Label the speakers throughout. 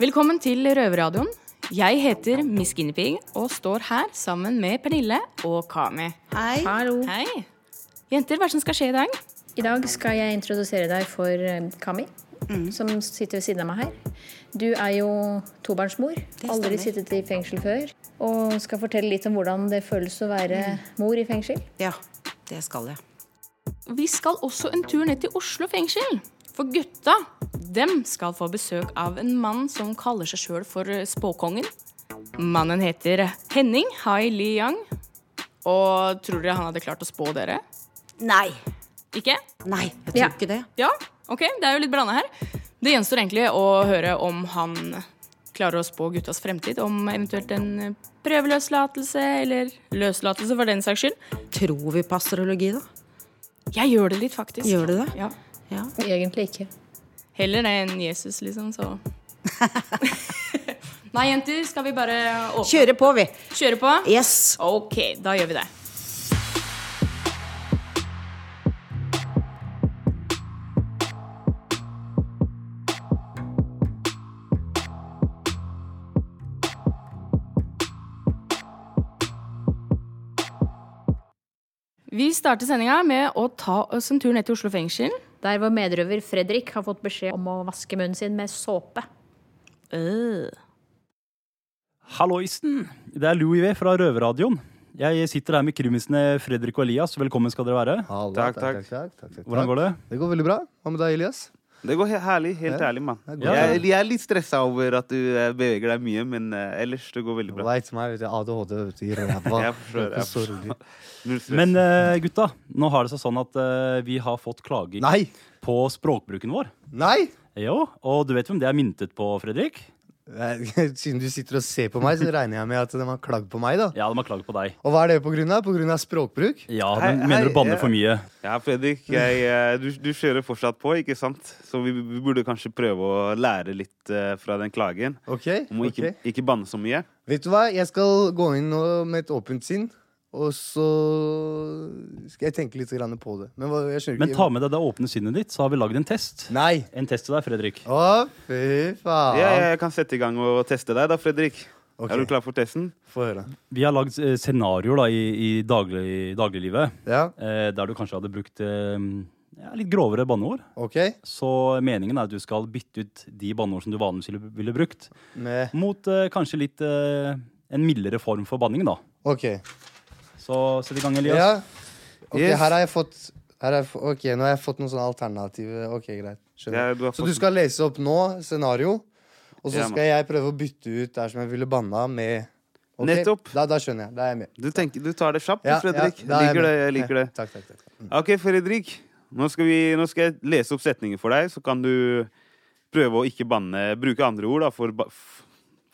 Speaker 1: Velkommen til Røverradioen. Jeg heter Miss Guinevere og står her sammen med Pernille og Kami.
Speaker 2: Hei.
Speaker 3: Hallo.
Speaker 1: Hei. Jenter, hva er det som skal skje i dag?
Speaker 3: I dag skal jeg introdusere deg for eh, Kami, som sitter ved siden av meg her. Du er jo tobarnsmor. Aldri sittet i fengsel før. Og skal fortelle litt om hvordan det føles å være mor i fengsel.
Speaker 2: Ja, det skal jeg.
Speaker 1: Vi skal også en tur ned til Oslo fengsel. For gutta, dem skal få besøk av en mann som kaller seg sjøl for eh, spåkongen. Mannen heter Henning Hai Li Yang. Og tror dere han hadde klart å spå dere?
Speaker 2: Nei.
Speaker 1: Ikke?
Speaker 2: Nei, jeg tror
Speaker 3: Ja.
Speaker 2: ikke det.
Speaker 1: Ja, ok, det er jo litt blanda her. Det gjenstår egentlig å høre om han klarer å spå guttas fremtid, om eventuelt en prøveløslatelse eller løslatelse for den saks skyld.
Speaker 2: Tror vi på astrologi, da?
Speaker 1: Jeg gjør det litt, faktisk.
Speaker 2: Gjør du det?
Speaker 1: Ja.
Speaker 2: Ja.
Speaker 3: Egentlig ikke.
Speaker 1: Heller det enn Jesus, liksom, så Nei, jenter, skal vi bare åpne?
Speaker 2: Kjøre på, vi.
Speaker 1: kjøre på?
Speaker 2: Yes.
Speaker 1: Ok, da gjør vi det. Vi starter sendinga med å ta oss en tur ned til Oslo fengsel.
Speaker 3: Der vår medrøver Fredrik har fått beskjed om å vaske munnen sin med såpe.
Speaker 4: Halloisen! Det er Louis V fra Røverradioen. Jeg sitter her med krimisene Fredrik og Elias. Velkommen skal dere være.
Speaker 5: Hallo,
Speaker 6: Takk, takk.
Speaker 4: Hvordan går det?
Speaker 5: Det går veldig bra. Hva med deg, Elias?
Speaker 6: Det går he- herlig. Helt ærlig, mann.
Speaker 5: det går
Speaker 6: Jeg, jeg er litt stressa over at du eh, beveger deg mye, men eh, ellers det går veldig bra.
Speaker 5: Veit meg, vet du. ADHD vet du, i ræva.
Speaker 6: Jeg forstår,
Speaker 5: Det er ikke
Speaker 6: jeg
Speaker 5: så rolig.
Speaker 6: Null stress.
Speaker 4: Men eh, gutta, nå har det seg sånn at eh, vi har fått klager
Speaker 5: Nei!
Speaker 4: på språkbruken vår.
Speaker 5: Nei!
Speaker 4: Jo, og du vet hvem det er myntet på, Fredrik?
Speaker 5: Nei, Siden du sitter og ser på meg, så regner jeg med at de har klagd på meg. da
Speaker 4: Ja, de har klaget på deg.
Speaker 5: Og hva er det på grunn av? På grunn av språkbruk?
Speaker 4: Ja,
Speaker 6: Hei,
Speaker 4: men Mener
Speaker 6: hei,
Speaker 4: du banner
Speaker 6: jeg-
Speaker 4: for mye?
Speaker 6: ja, Fredrik, jeg, eh, du, du kjører fortsatt på, ikke sant? Så vi, vi burde kanskje prøve å lære litt eh, fra den klagen.
Speaker 5: Ok?
Speaker 6: Om å
Speaker 5: ok
Speaker 6: ikke, ikke banne så mye.
Speaker 5: Vet du hva? Jeg skal gå inn nå med et åpent sinn. Og så skal jeg tenke litt grann på det. Men hva, jeg skjønner
Speaker 4: Men
Speaker 5: ikke
Speaker 4: ta med deg det åpne sinnet ditt, så har vi lagd en test.
Speaker 5: Nei!
Speaker 4: En test til deg, Fredrik.
Speaker 5: Å, fy faen.
Speaker 6: Ja, jeg kan sette i gang og teste deg, da, Fredrik.
Speaker 5: Ok.
Speaker 6: Er du klar for testen?
Speaker 5: Få høre.
Speaker 4: Vi har lagd eh, scenarioer da, i, i daglig, dagliglivet
Speaker 5: Ja,
Speaker 4: eh, der du kanskje hadde brukt eh, ja, litt grovere banneord.
Speaker 5: OK?
Speaker 4: Så meningen er at du skal bytte ut de banneord som du vanligvis ville, ville brukt,
Speaker 5: Med
Speaker 4: mot eh, kanskje litt eh, en mildere form for banning, da.
Speaker 5: OK.
Speaker 4: Så sett i gang, Elias.
Speaker 5: Ja. Ok,
Speaker 6: Yes.
Speaker 5: her har jeg fått her har jeg, få- Ok, nå har jeg fått noen sånne alternative Ok, greit. Skjønner.
Speaker 6: Ja, du har
Speaker 5: så
Speaker 6: fått-
Speaker 5: du skal lese opp nå scenario, og så
Speaker 6: Ja, man.
Speaker 5: skal jeg prøve å bytte ut der som jeg ville banna, med Ok,
Speaker 6: Nettopp.
Speaker 5: Da, da skjønner jeg. Da er jeg med.
Speaker 6: Du, tenker, du tar det kjapt, du,
Speaker 5: Ja,
Speaker 6: Fredrik.
Speaker 5: ja, da er jeg
Speaker 6: liker det,
Speaker 5: med.
Speaker 6: jeg liker det.
Speaker 5: Takk, takk, takk.
Speaker 6: Ok, Fredrik. Nå skal, vi, nå skal jeg lese opp setninger for deg, så kan du prøve å ikke banne Bruke andre ord da, for, ba- f-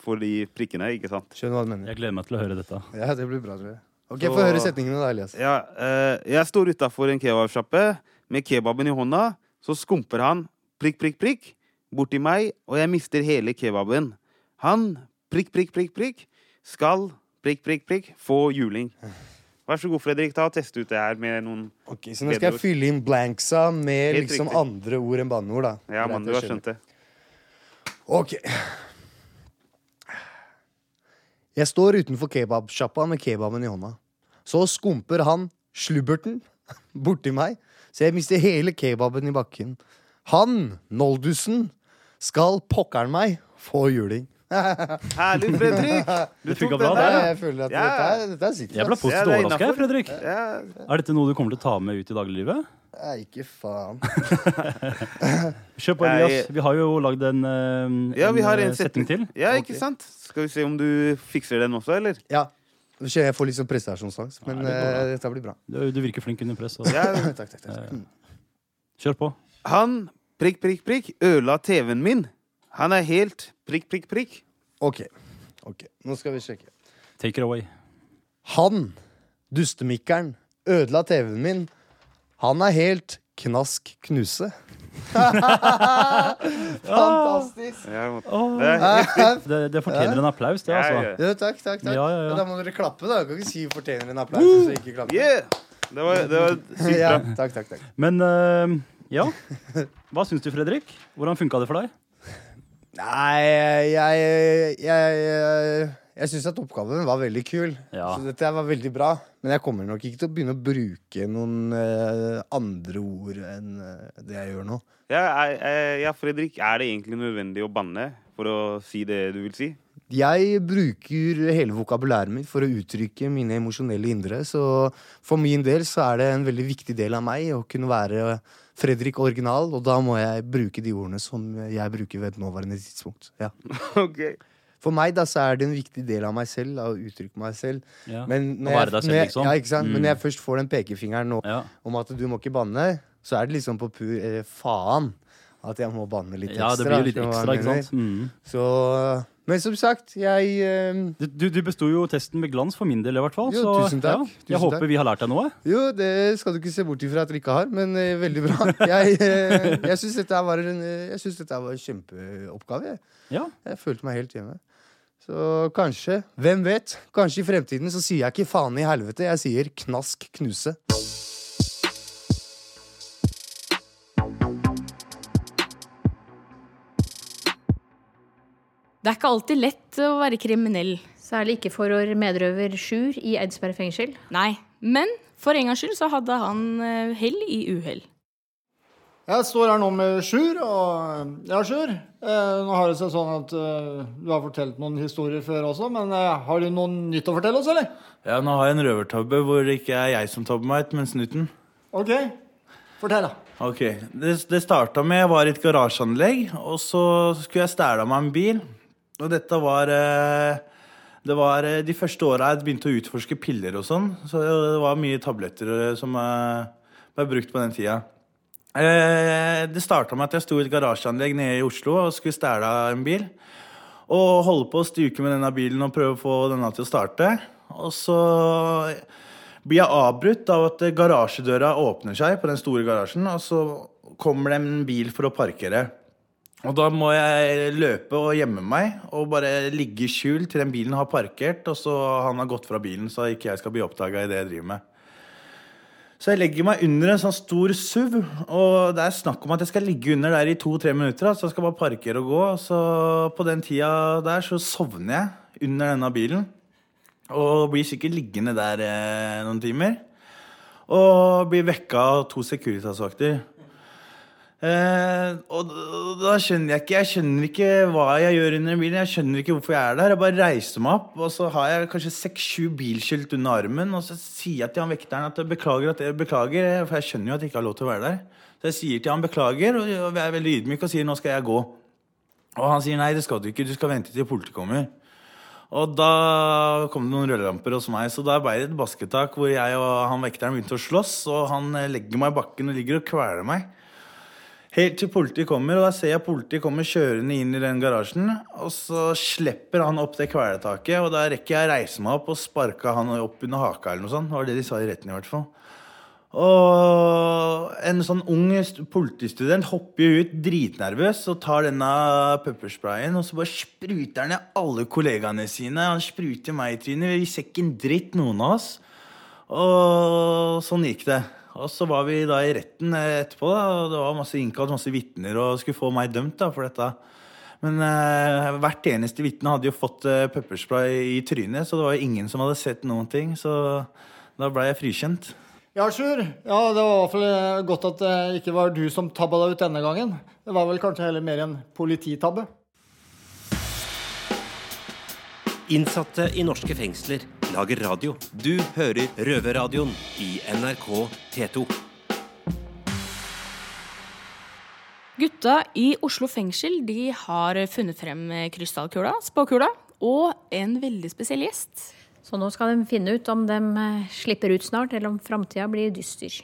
Speaker 6: for de prikkene, ikke sant?
Speaker 5: Skjønner hva du mener.
Speaker 4: Jeg gleder meg til å høre dette.
Speaker 5: Ja, det blir bra, tror jeg. Ok,
Speaker 6: Så-
Speaker 5: Få høre setningene da, Elias.
Speaker 6: Ja, eh, jeg står utafor en kebabsjappe med kebaben i hånda. Så skumper han prikk, prikk, prikk borti meg, og jeg mister hele kebaben. Han prikk, prikk, prikk, prikk skal prikk, prikk, prikk få juling. Vær så god, Fredrik. ta og Test ut det her med noen
Speaker 5: Ok, Så nå skal jeg fylle inn blanksa med
Speaker 6: Helt
Speaker 5: liksom
Speaker 6: riktig.
Speaker 5: andre ord enn banneord, da.
Speaker 6: Ja,
Speaker 5: Greit,
Speaker 6: mann, du
Speaker 5: jeg
Speaker 6: har
Speaker 5: skjønner.
Speaker 6: skjønt det.
Speaker 5: Ok. Jeg står utenfor kebabsjappa med kebaben i hånda. Så skumper han slubberten borti meg, så jeg mister hele kebaben i bakken. Han, Noldusen, skal pokkeren meg få juling.
Speaker 6: Herlig, Fredrik! Du
Speaker 4: Det funka
Speaker 6: tok
Speaker 4: bra,
Speaker 6: den
Speaker 4: det.
Speaker 6: der.
Speaker 5: Jeg føler at
Speaker 6: Ja.
Speaker 5: dette, er- dette er sikkert.
Speaker 4: Jeg ble
Speaker 5: ass.
Speaker 6: Ja,
Speaker 4: positivt
Speaker 6: det er
Speaker 4: overraska, jeg,
Speaker 6: innenfor.
Speaker 4: Fredrik.
Speaker 6: Ja,
Speaker 4: Er dette noe du kommer til å ta med ut i dagliglivet?
Speaker 5: Nei, ikke faen.
Speaker 4: Kjør på,
Speaker 6: Nei.
Speaker 4: Elias. Vi har jo lagd en, eh,
Speaker 6: Ja, vi har
Speaker 4: eh,
Speaker 6: en setning,
Speaker 4: til.
Speaker 6: Ja, ikke
Speaker 5: Ok.
Speaker 6: sant? Skal vi se om du fikser den også, eller?
Speaker 5: Ja. Nå kjenner Jeg jeg får litt sånn prestasjonsangst, men
Speaker 4: Nei, det går bra.
Speaker 5: eh, dette blir bra.
Speaker 4: Du, du virker flink under press. altså.
Speaker 6: Ja.
Speaker 5: Takk, takk, takk, takk.
Speaker 4: Kjør på.
Speaker 6: Han prikk, prikk, prikk ødela TV-en min. Han er helt prikk, prikk, prikk.
Speaker 5: Ok. ok, Nå skal vi sjekke.
Speaker 4: Take it away.
Speaker 5: Han, dustemikkeren, ødela TV-en min. Han er helt knask knuse. Fantastisk!
Speaker 6: Ja, må-
Speaker 4: Åh.
Speaker 6: Det er-
Speaker 4: Ah, Det, det fortjener en applaus, det,
Speaker 6: Ja,
Speaker 4: altså.
Speaker 6: ja.
Speaker 5: Jo, takk, takk. takk.
Speaker 4: Ja, ja, ja.
Speaker 5: Da må dere klappe, da. Du kan ikke si vi fortjener en applaus. hvis dere ikke klapper.
Speaker 6: Yeah! Det var, det var sykt
Speaker 5: Ja,
Speaker 6: bra.
Speaker 5: takk, takk, takk.
Speaker 4: Men eh, ja. Hva syns du, Fredrik? Hvordan funka det for deg?
Speaker 5: Nei, jeg Jeg, jeg, jeg syns at oppgaven var veldig kul.
Speaker 4: Ja.
Speaker 5: Så dette her var veldig bra. Men jeg kommer nok ikke til å begynne å bruke noen eh, andre ord enn eh, det jeg gjør nå.
Speaker 6: Ja, jeg- jeg- ja, Fredrik, er det egentlig nødvendig å banne for å si det du vil si?
Speaker 5: Jeg bruker hele vokabulæret mitt for å uttrykke mine emosjonelle indre, så for min del så er det en veldig viktig del av meg å kunne være Fredrik original, og da må jeg bruke de ordene som jeg bruker ved et nåværende tidspunkt. Ja.
Speaker 6: Ok.
Speaker 5: For meg da så er det en viktig del av meg selv, av å uttrykke meg selv.
Speaker 4: Ja.
Speaker 5: Men
Speaker 4: Å være deg selv,
Speaker 5: når jeg,
Speaker 4: liksom.
Speaker 5: Ja, ikke sant?
Speaker 4: Mm.
Speaker 5: Men når jeg først får den pekefingeren nå
Speaker 4: Ja.
Speaker 5: om at du må ikke banne, så er det liksom på pur eh, faen at jeg må banne litt
Speaker 4: ja,
Speaker 5: ekstra.
Speaker 4: det blir jo litt
Speaker 5: skjønner du hva
Speaker 4: ekstra,
Speaker 5: jeg
Speaker 4: ikke sant?
Speaker 5: mener?
Speaker 4: Mm.
Speaker 5: Så, men som sagt, jeg eh,
Speaker 4: Du, du- du besto jo testen med glans for min del, i hvert fall.
Speaker 5: Jo,
Speaker 4: så
Speaker 5: tusen
Speaker 4: Ja,
Speaker 5: takk.
Speaker 4: jeg
Speaker 5: Tusen
Speaker 4: håper
Speaker 5: takk.
Speaker 4: vi har lært deg noe.
Speaker 5: Jo, det skal du ikke se bort ifra at dere ikke har, men eh, veldig bra. Jeg, eh, jeg syns dette her var en eh, Jeg synes dette her var en kjempeoppgave. Jeg.
Speaker 4: Ja,
Speaker 5: jeg følte meg helt hjemme. Så kanskje, hvem vet, kanskje i fremtiden så sier jeg ikke faen i helvete, jeg sier knask knuse.
Speaker 1: Det er ikke alltid lett å være kriminell.
Speaker 3: Særlig ikke for vår medrøver Sjur i Eidsberg fengsel.
Speaker 1: Nei. Men for en gangs skyld så hadde han eh, hell i uhell.
Speaker 7: Jeg står her nå med Sjur, og ja, Sjur. Eh, nå har det seg sånn at eh, du har fortalt noen historier før også, men eh, har du noe nytt å fortelle oss, eller?
Speaker 8: Ja, nå har jeg en røvertabbe hvor det ikke er jeg som tabber meg ut, men snuten.
Speaker 7: OK, fortell, da.
Speaker 8: Ok, Det, det starta med jeg var i et garasjeanlegg, og så skulle jeg stjele meg en bil. Og dette var eh, Det var eh, de første åra jeg begynte å utforske piller og sånn. Så det var mye tabletter eh, som eh, ble brukt på den tida. Eh, det starta med at jeg sto i et garasjeanlegg nede i Oslo og skulle stjele en bil. Og holde på å stuke med denne bilen og prøve å få denne til å starte. Og så blir jeg avbrutt av at garasjedøra åpner seg på den store garasjen, og så kommer det en bil for å parkere. Og da må jeg løpe og gjemme meg og bare ligge i skjul til den bilen har parkert, og så han har gått fra bilen, så ikke jeg skal bli oppdaga i det jeg driver med. Så jeg legger meg under en sånn stor SUV, og det er snakk om at jeg skal ligge under der i to-tre minutter. Så jeg skal bare parkere og gå. Så på den tida der så sovner jeg under denne bilen. Og blir sikkert liggende der eh, noen timer. Og blir vekka av to Securitas-vakter. Eh, og d- da skjønner jeg ikke Jeg skjønner ikke hva jeg gjør under bilen. Jeg skjønner ikke hvorfor jeg er der. Jeg bare reiser meg opp, og så har jeg kanskje seks-sju bilskilt under armen. Og så sier jeg til han vekteren at jeg beklager, at jeg beklager for jeg skjønner jo at jeg ikke har lov til å være der. Så jeg sier til han beklager, og jeg er veldig ydmyk og sier nå skal jeg gå. Og han sier nei, det skal du ikke. Du skal vente til politiet kommer. Og da kom det noen rødlamper hos meg, så da ble det et basketak hvor jeg og han vekteren begynte å slåss, og han eh, legger meg i bakken og ligger og kveler meg. Helt til politiet kommer, og da ser jeg politiet kommer kjørende inn i den garasjen. Og så slipper han opp det kveletaket, og da rekker jeg å reise meg opp og sparke han opp under haka eller noe sånt. Det var det de sa i retten i hvert fall. Og en sånn ung st- politistudent hopper jo ut dritnervøs og tar denne peppersprayen, og så bare spruter han ned alle kollegaene sine. Han spruter meg i trynet. Vi ser ikke en dritt, noen av oss. Og sånn gikk det. Og så var vi da i retten eh, etterpå, da, og det var masse innkalt, masse vitner, og skulle få meg dømt da, for dette. Men eh, hvert eneste vitne hadde jo fått eh, pepperspray i trynet, så det var jo ingen som hadde sett noen ting. Så da ble jeg frikjent.
Speaker 7: Ja, Sjur. Ja, det var i hvert fall eh, godt at det ikke var du som tabba deg ut denne gangen. Det var vel kanskje heller mer en polititabbe.
Speaker 9: Innsatte i norske fengsler lager radio. Du hører Røverradioen i NRK P2.
Speaker 1: Gutta i Oslo fengsel de har funnet frem krystallkula, spåkula, og en veldig spesiell gjest.
Speaker 3: Så nå skal de finne ut om de eh, slipper ut snart, eller om framtida blir dyster.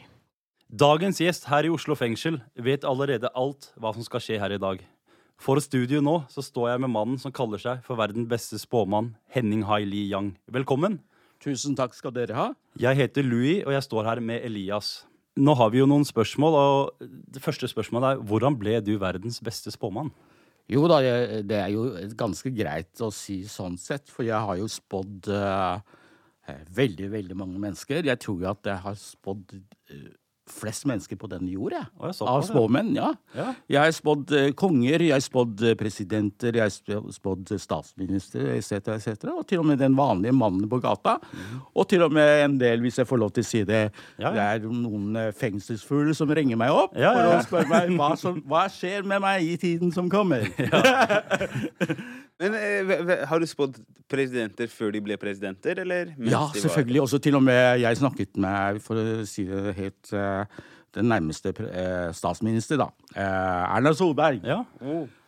Speaker 4: Dagens gjest her i Oslo fengsel vet allerede alt hva som skal skje her i dag. For studio nå så står jeg med mannen som kaller seg for verdens beste spåmann, Henning Hai Li Yang. Velkommen.
Speaker 10: Tusen takk skal dere ha.
Speaker 4: Jeg heter Louis, og jeg står her med Elias. Nå har vi jo noen spørsmål, og det første spørsmålet er hvordan ble du verdens beste spåmann?
Speaker 10: Jo da, det det er jo ganske greit å si sånn sett, for jeg har jo spådd eh, eh, veldig, veldig mange mennesker. Jeg tror jo at jeg har spådd eh, flest mennesker på denne jord, jeg.
Speaker 4: Å, ja, såpass,
Speaker 10: Av
Speaker 4: ja.
Speaker 10: spåmenn, ja.
Speaker 4: Ja.
Speaker 10: Jeg har spådd eh, konger, jeg har spådd eh, presidenter, jeg har sp- spådd eh, statsminister etc., etc. Og til og med den vanlige mannen på gata. Og til og med en del, hvis jeg får lov til å si det,
Speaker 4: Mm. Ja, ja.
Speaker 10: det er noen eh, fengselsfugler som ringer meg opp
Speaker 4: Ja, ja, ja.
Speaker 10: for å spørre meg hva, som, hva skjer med meg i tiden som kommer.
Speaker 6: Men eh, ve- ve- Har du spådd presidenter før de ble presidenter, eller? mens
Speaker 10: Ja,
Speaker 6: de var-
Speaker 10: selvfølgelig. Også til og med jeg snakket med, for å si det helt eh, Den nærmeste pre- eh, statsminister, da. Eh, Erna Solberg.
Speaker 4: Ja.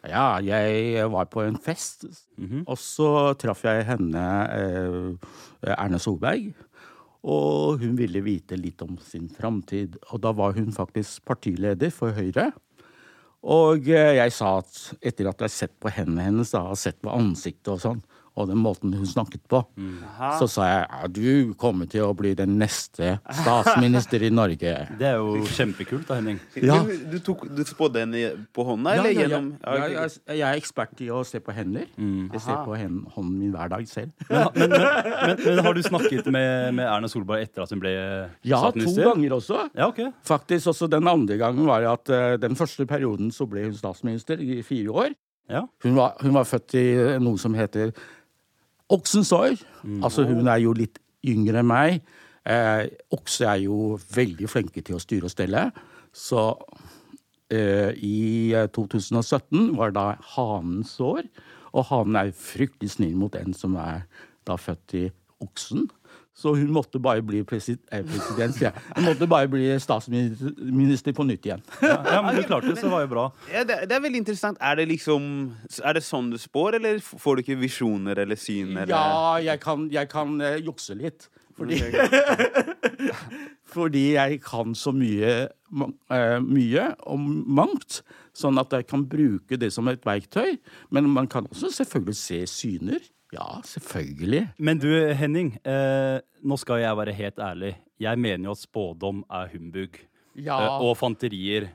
Speaker 10: Ja, jeg var på en fest, og så traff jeg henne, eh, Erna Solberg. Og hun ville vite litt om sin framtid. Og da var hun faktisk partileder for Høyre. Og eh, jeg sa at etter at jeg har sett på hendene hennes, da, har sett på ansiktet og sånn, og den måten hun snakket på, så sa jeg ja, du kommer til å bli den neste statsminister i Norge.
Speaker 4: Det er jo kjempekult, da, Henning.
Speaker 10: Ja.
Speaker 6: Men Du, tok, du spådde henne på hånda,
Speaker 10: Ja,
Speaker 6: eller
Speaker 10: ja, ja.
Speaker 6: gjennom
Speaker 10: Ja, jeg, er- jeg er ekspert i å se på hender. Jeg ser på hen, hånden min hver dag selv.
Speaker 4: Men, men har du snakket med, med Erna Solberg etter at hun ble
Speaker 10: Ja, to
Speaker 4: statsminister?
Speaker 10: ganger også.
Speaker 4: Ja, ok.
Speaker 10: Faktisk også Den andre gangen var at eh, den første perioden så ble hun statsminister i fire år.
Speaker 4: Ja.
Speaker 10: Hun var, hun var født i eh, noe som heter Oksensår. Altså hun er jo litt yngre enn meg. Eh, okse er jo veldig flinke til å styre og stelle. Så eh, i eh, 2017 var da hanens år. Og hanen er fryktelig snill mot en som er da født i oksen. Så hun måtte bare bli presid eh, president, sier jeg. Hun måtte bare bli statsminister på nytt igjen.
Speaker 4: Ja, ja, men du klarte det, så det var jo bra.
Speaker 6: Ja, det, er- det er veldig interessant. Er det liksom Er det sånn du spår, eller f- får du ikke visjoner eller syn? Eller?
Speaker 10: Ja, jeg kan, jeg kan eh, jukse litt. Fordi, fordi jeg kan så mye, man- eh, mye og mangt, sånn at jeg kan bruke det som et verktøy. Men man kan også selvfølgelig se syner. Ja, selvfølgelig.
Speaker 4: Men du, Henning, eh, nå skal jeg være helt ærlig. Jeg mener jo at spådom er humbug
Speaker 10: Ja.
Speaker 4: eh, og fanterier.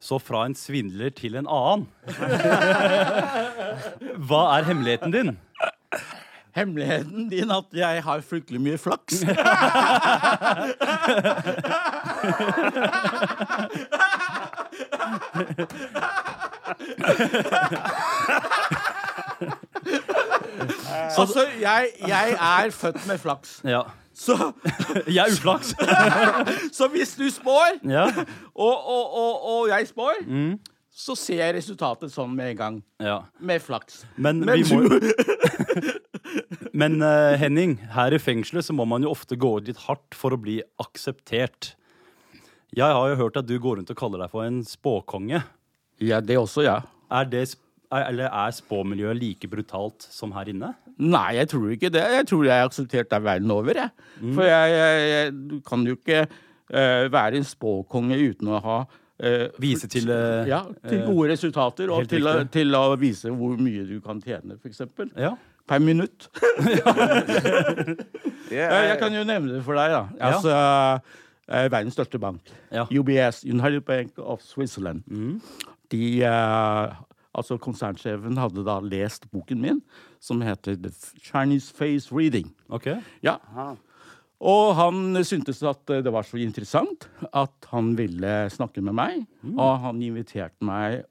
Speaker 4: Så fra en svindler til en annen. Hva er hemmeligheten din?
Speaker 10: Hemmeligheten din at jeg har fryktelig mye flaks. altså, jeg, jeg er født med flaks.
Speaker 4: Ja.
Speaker 10: Så,
Speaker 4: Jeg er uflaks.
Speaker 10: så hvis du spår,
Speaker 4: Ja.
Speaker 10: og, og, og, og jeg spår, så ser jeg resultatet sånn med en gang.
Speaker 4: ja.
Speaker 10: Med flaks.
Speaker 4: Men,
Speaker 10: Men
Speaker 4: vi må Men eh, Henning, her i fengselet så må man jo ofte gå ut litt hardt for å bli akseptert. Jeg har jo hørt at du går rundt og kaller deg for en spåkonge.
Speaker 10: Ja, det også, ja.
Speaker 4: Er det sp- er- eller er spåmiljøet like brutalt som her inne?
Speaker 10: Nei, jeg tror ikke det. Jeg tror jeg er akseptert der verden over. Jeg.
Speaker 4: Mm.
Speaker 10: For jeg, jeg, jeg, du kan jo ikke eh, være en spåkonge uten å ha eh,
Speaker 4: Vise til, eh,
Speaker 10: ja, til gode resultater, og
Speaker 4: helt
Speaker 10: til å,
Speaker 4: riktig.
Speaker 10: til å vise hvor mye du kan tjene, f.eks.
Speaker 4: Ja.
Speaker 10: Per minutt.
Speaker 6: Ja,
Speaker 10: Eh, Jeg kan jo nevne det for deg, da. Altså, eh, verdens største bank.
Speaker 4: Ja. Mm.
Speaker 10: UBS, United Bank of Switzerland. De, eh, altså Konsernsjefen hadde da lest boken min, som heter The Chinese Face Reading.
Speaker 4: Ok.
Speaker 10: Ja. Og han syntes at eh, det var så interessant at han ville snakke med meg.
Speaker 4: Mm.
Speaker 10: Og han inviterte meg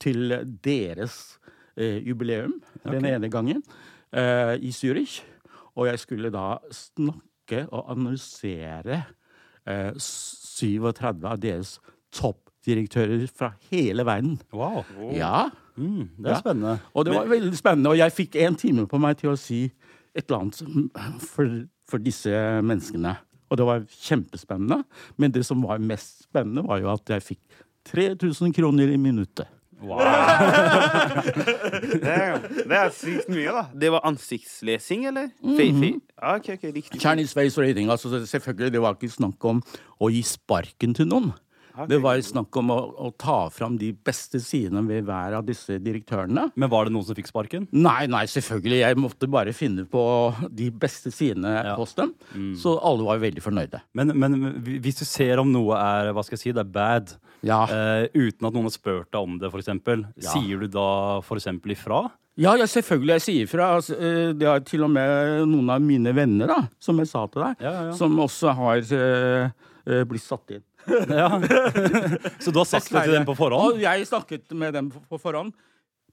Speaker 10: til deres eh, jubileum den ene gangen eh, i Zürich. Og jeg skulle da snakke og analysere eh, 37 av deres toppdirektører fra hele verden.
Speaker 4: Wow.
Speaker 10: Ja.
Speaker 4: Mm, det er
Speaker 10: Ja.
Speaker 4: spennende.
Speaker 10: Og det var veldig spennende, og jeg fikk én time på meg til å si et eller annet som- for, for disse menneskene. Og det var kjempespennende. Men det som var mest spennende, var jo at jeg fikk 3000 kroner i minuttet.
Speaker 6: Det, er, det er sykt mye, da. Det var ansiktslesing, eller?
Speaker 10: Mhm.
Speaker 6: Faithy? Ja, ok, ok, riktig.
Speaker 10: Chinese face reading, altså selvfølgelig, det var ikke snakk om å gi sparken til noen. Det var snakk om å, å ta fram de beste sidene ved hver av disse direktørene.
Speaker 4: Men var det noen som fikk sparken?
Speaker 10: Nei, nei, selvfølgelig. Jeg måtte bare finne på de beste sidene hos dem.
Speaker 4: Mm.
Speaker 10: Så alle var veldig fornøyde.
Speaker 4: Men, men hvis du ser om noe er hva skal jeg si, det er bad,
Speaker 10: Ja.
Speaker 4: eh, uten at noen har spurt deg om det, for eksempel, sier du da for eksempel ifra?
Speaker 10: Ja, ja, selvfølgelig jeg sier fra. Altså, eh, Det er til og med noen av mine venner, da, som jeg sa til deg,
Speaker 4: Ja, ja, ja.
Speaker 10: som også har eh, eh, blitt satt inn.
Speaker 4: Ja. Så du har sagt det til dem på
Speaker 10: Og
Speaker 4: forhånd?
Speaker 10: jeg snakket med dem på- på forhånd.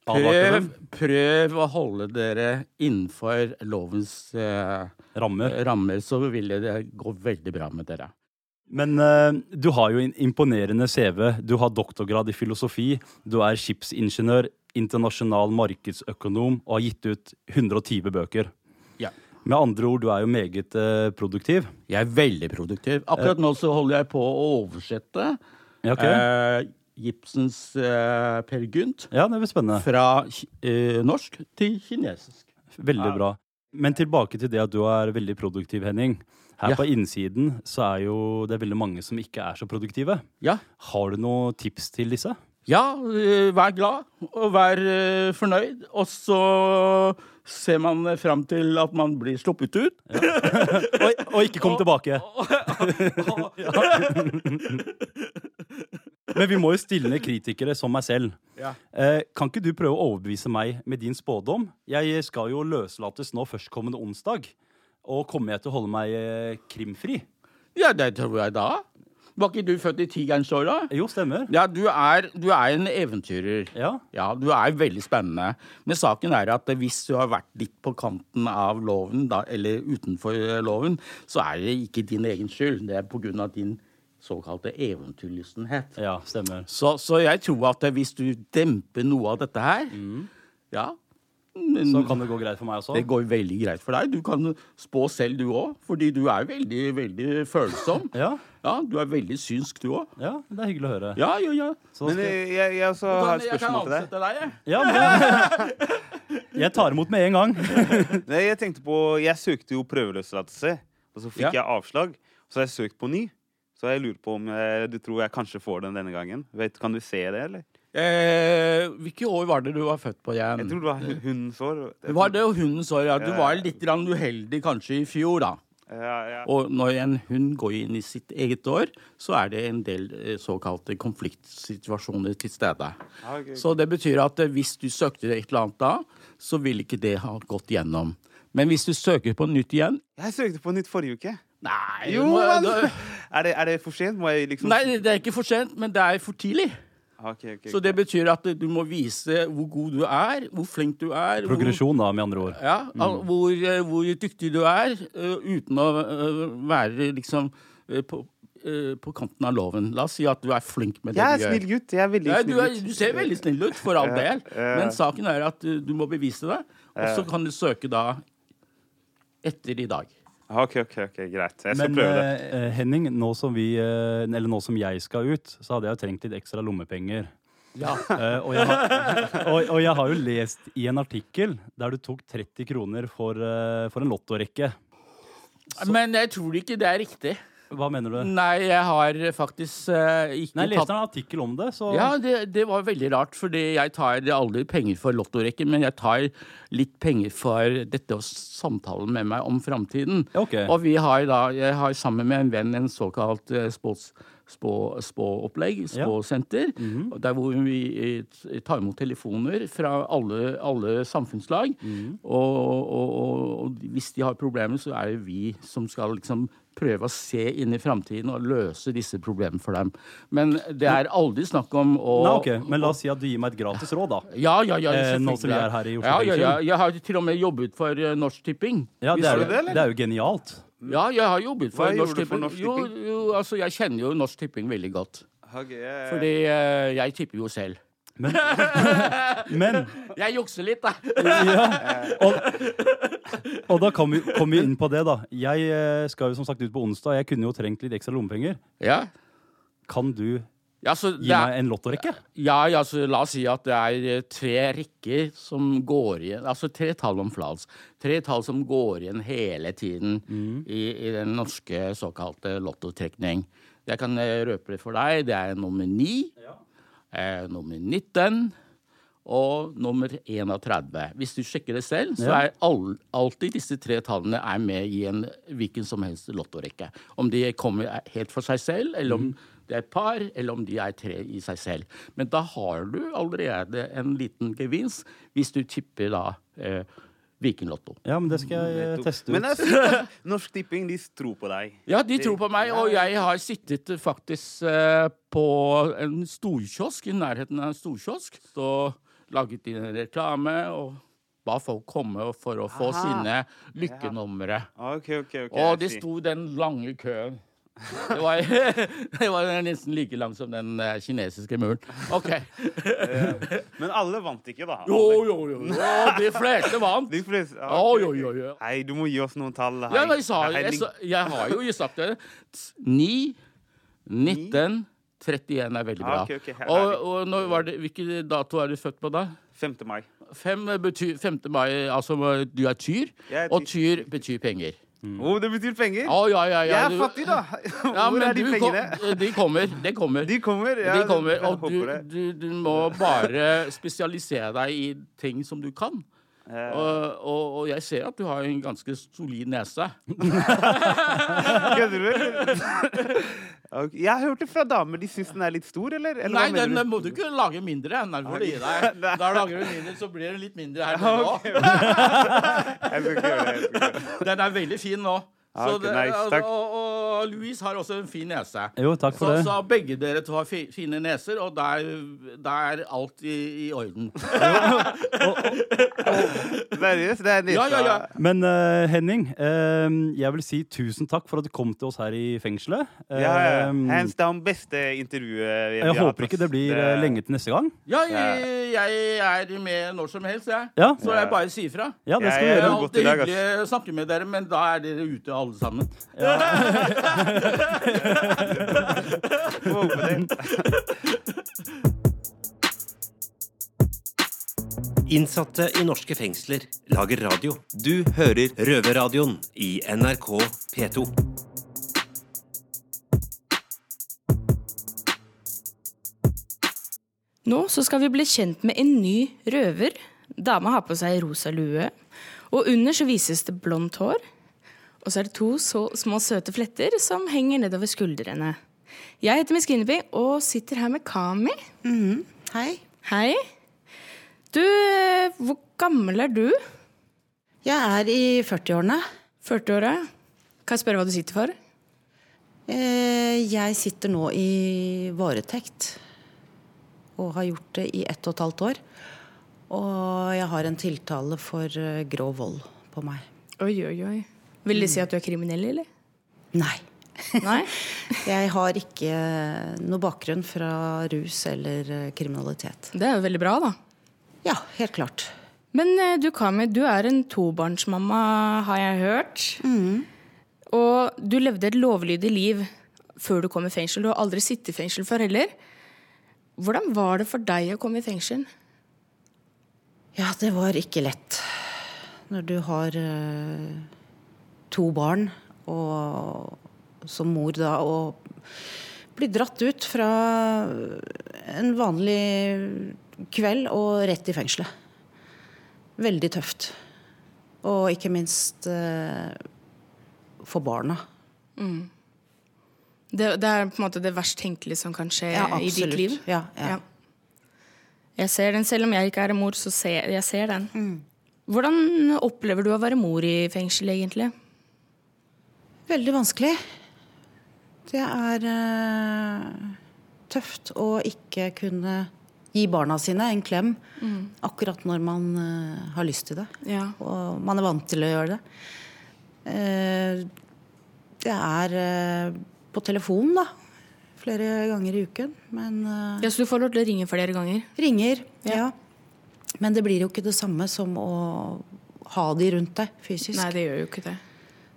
Speaker 4: Advarte
Speaker 10: Prøv,
Speaker 4: dem?
Speaker 10: prøv å holde dere innenfor lovens eh,
Speaker 4: Rammer.
Speaker 10: rammer, så vil det gå veldig bra med dere.
Speaker 4: Men eh, du har jo en imponerende CV. Du har doktorgrad i filosofi. Du er skipsingeniør, internasjonal markedsøkonom og har gitt ut 120 bøker.
Speaker 10: Ja.
Speaker 4: Med andre ord, du er jo meget eh, produktiv.
Speaker 10: Jeg er veldig produktiv. Akkurat nå så holder jeg på å oversette
Speaker 4: Ja, ok.
Speaker 10: eh, Gibsons eh, Per Gynt
Speaker 4: ja, det blir spennende.
Speaker 10: fra ki- eh, norsk til kinesisk.
Speaker 4: Veldig bra. Men tilbake til det at du er veldig produktiv, Henning. Her
Speaker 10: Ja.
Speaker 4: på innsiden så er jo det veldig mange som ikke er så produktive.
Speaker 10: Ja.
Speaker 4: Har du noen tips til disse?
Speaker 10: Ja, eh, vær glad og vær eh, fornøyd. Og så ser man fram til at man blir sluppet ut.
Speaker 4: Og, og ikke kom tilbake. Men vi må jo stille ned kritikere som meg selv. Eh, kan ikke du prøve å overbevise meg med din spådom? Jeg skal jo løslates nå førstkommende onsdag. Og kommer jeg til å holde meg eh, krimfri?
Speaker 10: Ja, det tror jeg da. Var ikke du født i tigerensåra?
Speaker 4: Jo, stemmer.
Speaker 10: Ja, du er, du er en eventyrer.
Speaker 4: Ja.
Speaker 10: Ja, du er veldig spennende. Men saken er at hvis du har vært litt på kanten av loven, da, eller utenfor eh, loven, så er det ikke din egen skyld. Det er på grunn av din såkalte eventyrlystenhet.
Speaker 4: Ja, stemmer.
Speaker 10: Så, så jeg tror at hvis du demper noe av dette her, ja,
Speaker 4: Mm. Så kan det gå greit for meg også?
Speaker 10: det går veldig greit for deg. Du kan spå selv du òg, fordi du er veldig, veldig følsom.
Speaker 4: Ja.
Speaker 10: Du er veldig synsk du òg.
Speaker 4: Ja, det er hyggelig å høre.
Speaker 10: Ja, ja, ja.
Speaker 4: Så
Speaker 6: Men
Speaker 4: skal-
Speaker 6: jeg, jeg, jeg også har et
Speaker 10: jeg kan
Speaker 6: spørsmål til deg.
Speaker 10: ansette deg, jeg.
Speaker 4: Ja, men Jeg tar imot med en gang.
Speaker 6: Nei, jeg tenkte på Jeg søkte jo prøveløslatelse, og så fikk
Speaker 10: Ja.
Speaker 6: jeg avslag. Så har jeg søkt på ny. Så jeg lurer på om eh, du tror jeg kanskje får den denne gangen. Vet, kan du se det, eller?
Speaker 10: Eh, hvilke år var det du var født på igjen?
Speaker 6: Jeg tror det var hu- hundens år.
Speaker 10: Det Mm. var det og hundens år, ja. Du
Speaker 6: Ja.
Speaker 10: var litt grann uheldig kanskje i fjor, da.
Speaker 6: Ja, ja.
Speaker 10: Og når en hund går inn i sitt eget år, så er det en del eh, såkalte konfliktsituasjoner til stede.
Speaker 6: Ah, ok, ok.
Speaker 10: Så det betyr at eh, hvis du søkte et eller annet da, så ville ikke det ha gått gjennom. Men hvis du søker på nytt igjen
Speaker 6: Jeg søkte på nytt forrige uke.
Speaker 10: Nei,
Speaker 6: Jo,
Speaker 10: du må-
Speaker 6: men
Speaker 10: da-
Speaker 6: er det, er det for sent? Må jeg liksom
Speaker 10: nei, eh, det er ikke for sent, men det er for tidlig.
Speaker 6: Ah, ok, ok, ok.
Speaker 10: Så det betyr at eh, du må vise hvor god du er, hvor flink du er. hvor-
Speaker 4: Progresjon, da, med andre ord.
Speaker 10: Ja,
Speaker 6: Mm.
Speaker 10: al hvor, eh, hvor dyktig du er eh, uten å eh, være liksom eh, på, eh, på kanten av loven. La oss si at du er flink med det
Speaker 6: Jeg er
Speaker 10: du
Speaker 6: snill
Speaker 10: gjør.
Speaker 6: gutt. Jeg er veldig
Speaker 10: Ja, du,
Speaker 6: snill
Speaker 10: er,
Speaker 6: gutt.
Speaker 10: du ser veldig snill ut, for all del,
Speaker 6: ja.
Speaker 10: men saken er at eh, du må bevise det. Og så kan du søke da etter i dag.
Speaker 6: Ah, Ok, ok, ok, greit. Jeg skal
Speaker 4: Men
Speaker 6: prøve det.
Speaker 4: eh, Henning, nå som, vi, eh, eller nå som jeg skal ut, så hadde jeg jo trengt litt ekstra lommepenger.
Speaker 10: Ja.
Speaker 4: Eh, og, jeg har, og, og jeg har jo lest i en artikkel der du tok 30 kroner for, eh, for en lottorekke.
Speaker 10: Men jeg tror ikke det er riktig.
Speaker 4: Hva mener du?
Speaker 10: Nei, jeg har faktisk eh, ikke
Speaker 4: Nei, jeg
Speaker 10: Mm. tatt
Speaker 4: leste en artikkel om det, så
Speaker 10: Ja, det, det var veldig rart, fordi jeg tar aldri penger for lottorekken, men jeg tar litt penger for dette å samtale med meg om framtiden.
Speaker 4: Ja, ok.
Speaker 10: Og vi har da, jeg har sammen med en venn en såkalt eh, spås- spå- spåopplegg,
Speaker 4: Ja. Mhm.
Speaker 10: spåsenter, og der hvor vi eh, t- tar imot telefoner fra alle, alle samfunnslag.
Speaker 4: Mhm.
Speaker 10: Og, og, og, og hvis de har problemer, så er det vi som skal liksom prøve å se inn i framtiden og løse disse problemene for dem. Men det er aldri snakk om å
Speaker 4: Nei, ok, Men la oss si at du gir meg et gratis råd, da.
Speaker 10: ja, ja, ja,
Speaker 4: Eh, nå
Speaker 10: selvfølgelig.
Speaker 4: som vi er her i Oslo
Speaker 10: Ja, ja, ja.
Speaker 4: fengsel.
Speaker 10: Jeg har til og med jobbet for eh, Norsk Tipping.
Speaker 4: Ja, det
Speaker 6: Visste
Speaker 4: er,
Speaker 6: du
Speaker 4: jo-
Speaker 6: det, eller?
Speaker 4: det er jo genialt.
Speaker 10: Ja, jeg har jobbet for
Speaker 6: Hva
Speaker 10: Norsk
Speaker 6: gjorde du for
Speaker 10: Tipping.
Speaker 6: Norsk Tipping?
Speaker 10: Jo, jo, altså, jeg kjenner jo Norsk Tipping veldig godt.
Speaker 6: Ok, jeg- jeg-
Speaker 10: Fordi eh, jeg tipper jo selv.
Speaker 4: Men
Speaker 10: Jeg jukser litt, da.
Speaker 4: Og da kom vi, kom vi inn på det, da. Jeg eh, skal jo som sagt ut på onsdag. Jeg kunne jo trengt litt ekstra lommepenger.
Speaker 10: Ja.
Speaker 4: Kan du
Speaker 10: Ja, så
Speaker 4: gi
Speaker 10: det er,
Speaker 4: meg en lottorekke?
Speaker 10: ja, ja, så la oss si at det er eh, tre rekker som går igjen Altså tre tall om flats. Tre tall som går igjen hele tiden i, i den norske såkalte lottotrekning. Jeg kan eh, røpe det for deg. Det er nummer ni. eh, nummer 19 og nummer 31. Hvis du sjekker det selv, så er all, alltid disse tre tallene er med i en hvilken som helst lottorekke. Om de kommer helt for seg selv, eller om det er et par, eller om de er tre i seg selv. Men da har du allerede en liten gevinst hvis du tipper da eh, Vikinglotto.
Speaker 4: Ja, men det skal jeg eh, teste ut.
Speaker 6: Men det er fint, altså. Norsk Tipping de tror på deg.
Speaker 10: Ja, de tror på meg, og jeg har sittet eh, faktisk eh, på en storkiosk, i nærheten av en storkiosk, og laget inn en reklame og ba folk komme for å få sine lykkenumre.
Speaker 6: Ah, Ok, ok, ok.
Speaker 10: Og de
Speaker 6: I see.
Speaker 10: sto den lange køen. Det var, det var nesten like lang som den eh, kinesiske muren. OK.
Speaker 6: Men alle vant ikke, da.
Speaker 10: Jo, jo, jo. jo. De fleste vant.
Speaker 6: De fleste, ja,
Speaker 10: Oi,
Speaker 6: ok,
Speaker 10: oi,
Speaker 6: ok.
Speaker 10: oi, oi.
Speaker 6: Hei, du må gi oss noen tall. Hei.
Speaker 10: Ja, men jeg, sa,
Speaker 6: Hei,
Speaker 10: jeg,
Speaker 6: Henning.
Speaker 10: sa- jeg har jo sagt det. 9, 19, 31 er veldig bra.
Speaker 6: Ah, ok, ok, her er
Speaker 10: Og,
Speaker 6: vi.
Speaker 10: og når var det, hvilken dato er du født på da?
Speaker 6: 5. mai.
Speaker 10: 5, betyr, 5. mai, altså du er tyr,
Speaker 6: Jeg er
Speaker 10: og
Speaker 6: tyr.
Speaker 10: tyr betyr penger.
Speaker 4: Mm.
Speaker 6: Å, det betyr penger!
Speaker 10: Å, ja, ja, ja.
Speaker 6: Jeg er
Speaker 10: du-
Speaker 6: fattig, da!
Speaker 10: Ja,
Speaker 6: Hvor
Speaker 10: men
Speaker 6: er de
Speaker 10: du
Speaker 6: pengene?
Speaker 10: kom- de kommer. Det kommer.
Speaker 6: De kommer. Ja,
Speaker 10: de kommer,
Speaker 6: jeg
Speaker 10: og du,
Speaker 6: håper det.
Speaker 10: du, du må bare spesialisere deg i ting som du kan. og, og, og jeg ser at du har en ganske solid nese.
Speaker 6: Kødder du? eller? Ok, Jeg hørte fra damer de syns den er litt stor, eller? eller
Speaker 10: Nei,
Speaker 6: hva
Speaker 10: den
Speaker 6: mener
Speaker 10: må du ikke lage mindre. Nerver i deg. Da lager du mindre, så blir den litt mindre her nå.
Speaker 6: Jeg skal ikke gjøre det. jeg skal ikke gjøre det.
Speaker 10: Den er veldig fin nå.
Speaker 6: Ja, ok,
Speaker 10: det- altså,
Speaker 6: nice, takk.
Speaker 10: og, og Louise har også en fin nese.
Speaker 4: Jo, takk
Speaker 10: Så,
Speaker 4: for det.
Speaker 10: så begge dere to har fi, fine neser, og da er- da er alt i, i orden.
Speaker 6: Seriøst, det er nesa.
Speaker 10: Ja, ja, ja.
Speaker 4: Men eh, Henning, eh, jeg vil si tusen takk for at du kom til oss her i fengselet. Eh,
Speaker 6: Ja, ja, ja. Hands down beste intervjuet vi- vi
Speaker 4: jeg
Speaker 6: har hatt,
Speaker 4: håper ikke
Speaker 6: ass.
Speaker 4: det blir eh, lenge til neste gang.
Speaker 10: Ja, jeg, jeg er med når som helst, jeg.
Speaker 4: Ja.
Speaker 10: Så jeg bare sier fra.
Speaker 4: Ja, det skal
Speaker 6: Jeg
Speaker 4: vi
Speaker 6: er
Speaker 10: Det er
Speaker 4: gjøre.
Speaker 6: godt i
Speaker 10: alltid
Speaker 6: dag, ass.
Speaker 10: hyggelig å snakke med dere, men da er dere ute alle sammen.
Speaker 6: Håper det.
Speaker 9: Innsatte i norske fengsler lager radio. Du hører Røverradioen i NRK P2.
Speaker 1: Nå så skal vi bli kjent med en ny røver. Dama har på seg rosa lue, og under så vises det blondt hår. Og så er det to så små søte fletter som henger nedover skuldrene. Jeg heter Miss Guinevere og sitter her med Kami.
Speaker 2: Hei.
Speaker 1: Hei. Du, eh, hvor gammel er du?
Speaker 2: Jeg er i 40-årene.
Speaker 1: 40-åra? Kan jeg spørre hva du sitter for?
Speaker 2: Eh, Jeg sitter nå i varetekt og har gjort det i ett og et halvt år. Og jeg har en tiltale for eh, grov vold på meg.
Speaker 1: Oi, oi, oi. Vil det si at du er kriminell, eller?
Speaker 2: Nei.
Speaker 1: Nei?
Speaker 2: Jeg har ikke noe bakgrunn fra rus eller eh, kriminalitet.
Speaker 1: Det er jo veldig bra, da.
Speaker 2: Ja, helt klart.
Speaker 1: Men eh, du, Kami, du er en tobarnsmamma, har jeg hørt. Og du levde et lovlydig liv før du kom i fengsel. Du har aldri sittet i fengsel før heller. Hvordan var det for deg å komme i fengsel?
Speaker 2: Ja, det var ikke lett. Når du har eh, to barn, og som mor da, og blir dratt ut fra en vanlig kveld og rett i fengselet. Veldig tøft. Og ikke minst eh, for barna.
Speaker 1: Det, det er på en måte det verst tenkelige som kan skje i ditt liv.
Speaker 2: Ja, ja.
Speaker 1: Ja. Jeg ser den, Selv om jeg ikke er en mor, så ser jeg ser den. Hvordan opplever du å være mor i fengsel, egentlig?
Speaker 2: Veldig vanskelig. Det er eh, tøft å ikke kunne gi barna sine en klem akkurat når man eh, har lyst til det.
Speaker 1: Mm. Ja.
Speaker 2: Og man er vant til å gjøre det. Eh, det er eh, på telefon, da. Flere ganger i uken. Men eh,
Speaker 1: Ja, Så du får lov til å ringe flere ganger?
Speaker 2: ringer, ja. Men det blir jo ikke det samme som å ha de rundt deg fysisk.
Speaker 1: Nei, det gjør jo ikke det.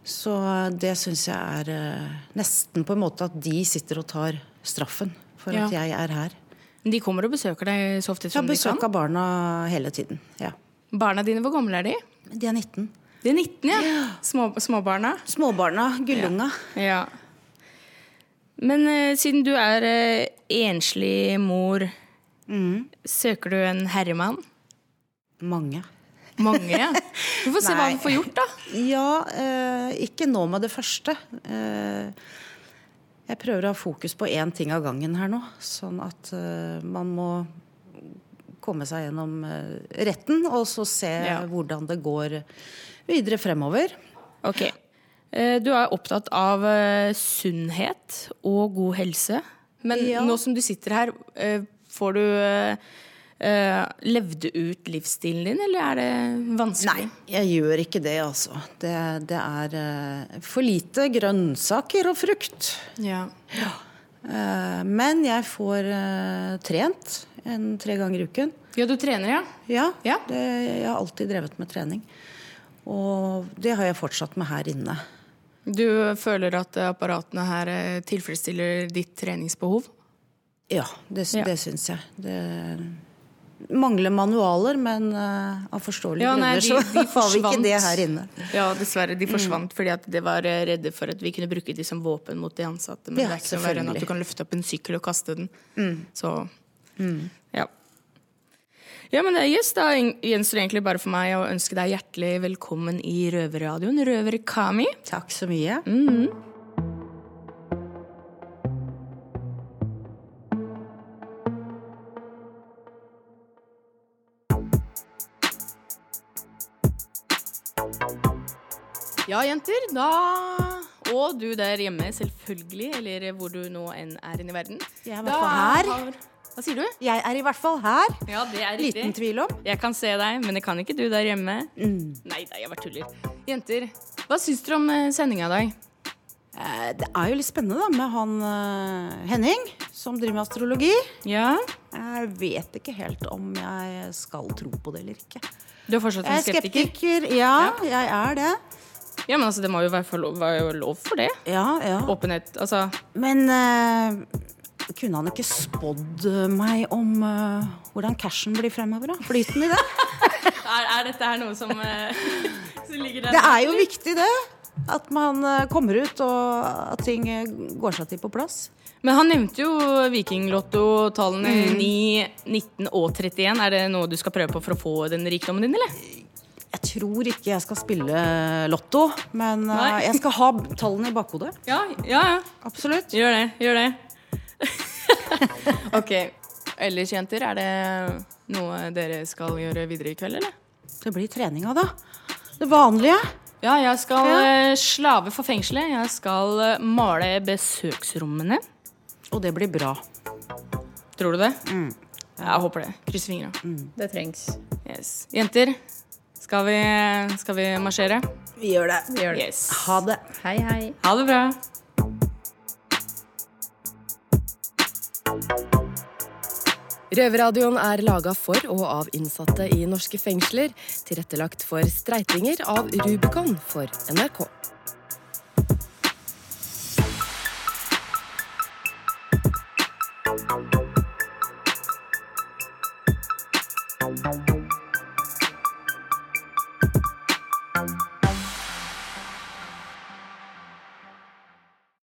Speaker 2: Så det syns jeg er eh, nesten på en måte at de sitter og tar straffen for
Speaker 1: Ja.
Speaker 2: at jeg er her.
Speaker 1: Men De kommer og besøker deg så ofte
Speaker 2: Jeg
Speaker 1: som
Speaker 2: har
Speaker 1: de kan?
Speaker 2: besøk av barna hele tiden. Ja.
Speaker 1: Barna dine, hvor gamle er de?
Speaker 2: De er 19.
Speaker 1: De er 19, ja. Små, småbarna.
Speaker 2: Småbarna, gullunga.
Speaker 1: Ja. Men eh, siden du er eh, enslig mor, Mm. søker du en herremann?
Speaker 2: Mange.
Speaker 1: Mange, ja. Vi får se hva
Speaker 2: Nei.
Speaker 1: vi får gjort, da.
Speaker 2: Ja, eh, ikke nå med det første. Eh, jeg prøver å ha fokus på én ting av gangen her nå, sånn at eh, man må komme seg gjennom eh, retten, og så se
Speaker 1: Ja.
Speaker 2: hvordan det går videre fremover.
Speaker 1: Ok. Eh, Du er opptatt av eh, sunnhet og god helse. Men
Speaker 2: Ja.
Speaker 1: nå som du sitter her, eh, får du eh, eh, Levde ut livsstilen din, eller er det vanskelig?
Speaker 2: Nei, jeg gjør ikke det, altså. Det, det er eh, for lite grønnsaker og frukt.
Speaker 1: Ja.
Speaker 2: Eh, men jeg får eh, trent en tre ganger i uken.
Speaker 1: ja, du trener, ja?
Speaker 2: Ja,
Speaker 1: Ja.
Speaker 2: Det, jeg har alltid drevet med trening. Og det har jeg fortsatt med her inne.
Speaker 1: Du føler at eh, apparatene her eh, tilfredsstiller ditt treningsbehov?
Speaker 2: Ja, det, sy-
Speaker 1: Ja.
Speaker 2: det syns jeg. Det mangler manualer, men eh, av forståelige
Speaker 1: Ja, nei, de-
Speaker 2: grunner så
Speaker 1: de
Speaker 2: har vi
Speaker 1: forsvant.
Speaker 2: ikke det her inne.
Speaker 1: Ja, dessverre. De forsvant fordi at de var eh, redde for at vi kunne bruke de som våpen mot de ansatte. Men
Speaker 2: Ja,
Speaker 1: det er ikke noe verre enn at
Speaker 2: selvfølgelig.
Speaker 1: du kan løfte opp en sykkel og kaste den. Så ja. Ja, men det er yes, Da en- gjenstår det egentlig bare for meg å ønske deg hjertelig velkommen i Røverradioen, Røverkami.
Speaker 2: Takk så mye.
Speaker 1: Mm. Ja, jenter, da Og du der hjemme, selvfølgelig, eller hvor du nå enn er i verden.
Speaker 2: Jeg er i hvert fall her.
Speaker 1: Hva sier du?
Speaker 2: Jeg er i hvert fall her.
Speaker 1: Ja, det er riktig.
Speaker 2: Liten tvil om.
Speaker 1: Jeg kan se deg, men det kan ikke du der hjemme. Nei da, jeg bare tuller. Jenter, hva syns dere om sendinga i dag?
Speaker 2: Eh, Det er jo litt spennende da med han eh, Henning, som driver med astrologi.
Speaker 1: Ja?
Speaker 2: Jeg vet ikke helt om jeg skal tro på det eller ikke.
Speaker 1: Du er fortsatt
Speaker 2: Jeg
Speaker 1: en
Speaker 2: er
Speaker 1: skeptiker?
Speaker 2: skeptiker. Ja, jeg er det.
Speaker 1: Ja, men altså, Det må jo være for lov, være lov for det.
Speaker 2: Ja, ja.
Speaker 1: Åpenhet. Altså,
Speaker 2: Men eh, kunne han ikke spådd eh, meg om eh, hvordan cashen blir fremover? da? Flyten i det?
Speaker 1: er, er dette her noe som, eh, som ligger der?
Speaker 2: Det er jo viktig, det. At man eh, kommer ut, og at ting eh, går seg til på plass.
Speaker 1: Men han nevnte jo Vikinglotto-tallene 9, 19 og 31. Er det noe du skal prøve på for å få den rikdommen din, eller?
Speaker 2: Jeg tror ikke jeg skal spille lotto, men eh,
Speaker 1: Nei.
Speaker 2: jeg skal ha tallene i bakhodet.
Speaker 1: Ja, ja, ja.
Speaker 2: Absolutt.
Speaker 1: Gjør det, gjør det. ok. Ellers, jenter, er det noe dere skal gjøre videre i kveld, eller?
Speaker 2: Det blir treninga, da. Det vanlige.
Speaker 1: Ja, jeg skal
Speaker 2: Ja.
Speaker 1: eh, slave for fengselet. Jeg skal eh, male besøksrommene.
Speaker 2: Og det blir bra.
Speaker 1: Tror du det? Jeg håper det. Krysser fingra.
Speaker 3: Det trengs.
Speaker 1: Yes. Jenter, skal vi, skal vi marsjere?
Speaker 2: Vi gjør det.
Speaker 3: Vi gjør det.
Speaker 1: Yes.
Speaker 2: Ha det.
Speaker 3: Hei, hei.
Speaker 1: Ha det bra.
Speaker 11: Røverradioen er laga for og av innsatte i norske fengsler. Tilrettelagt for streitinger av Rubicon for NRK.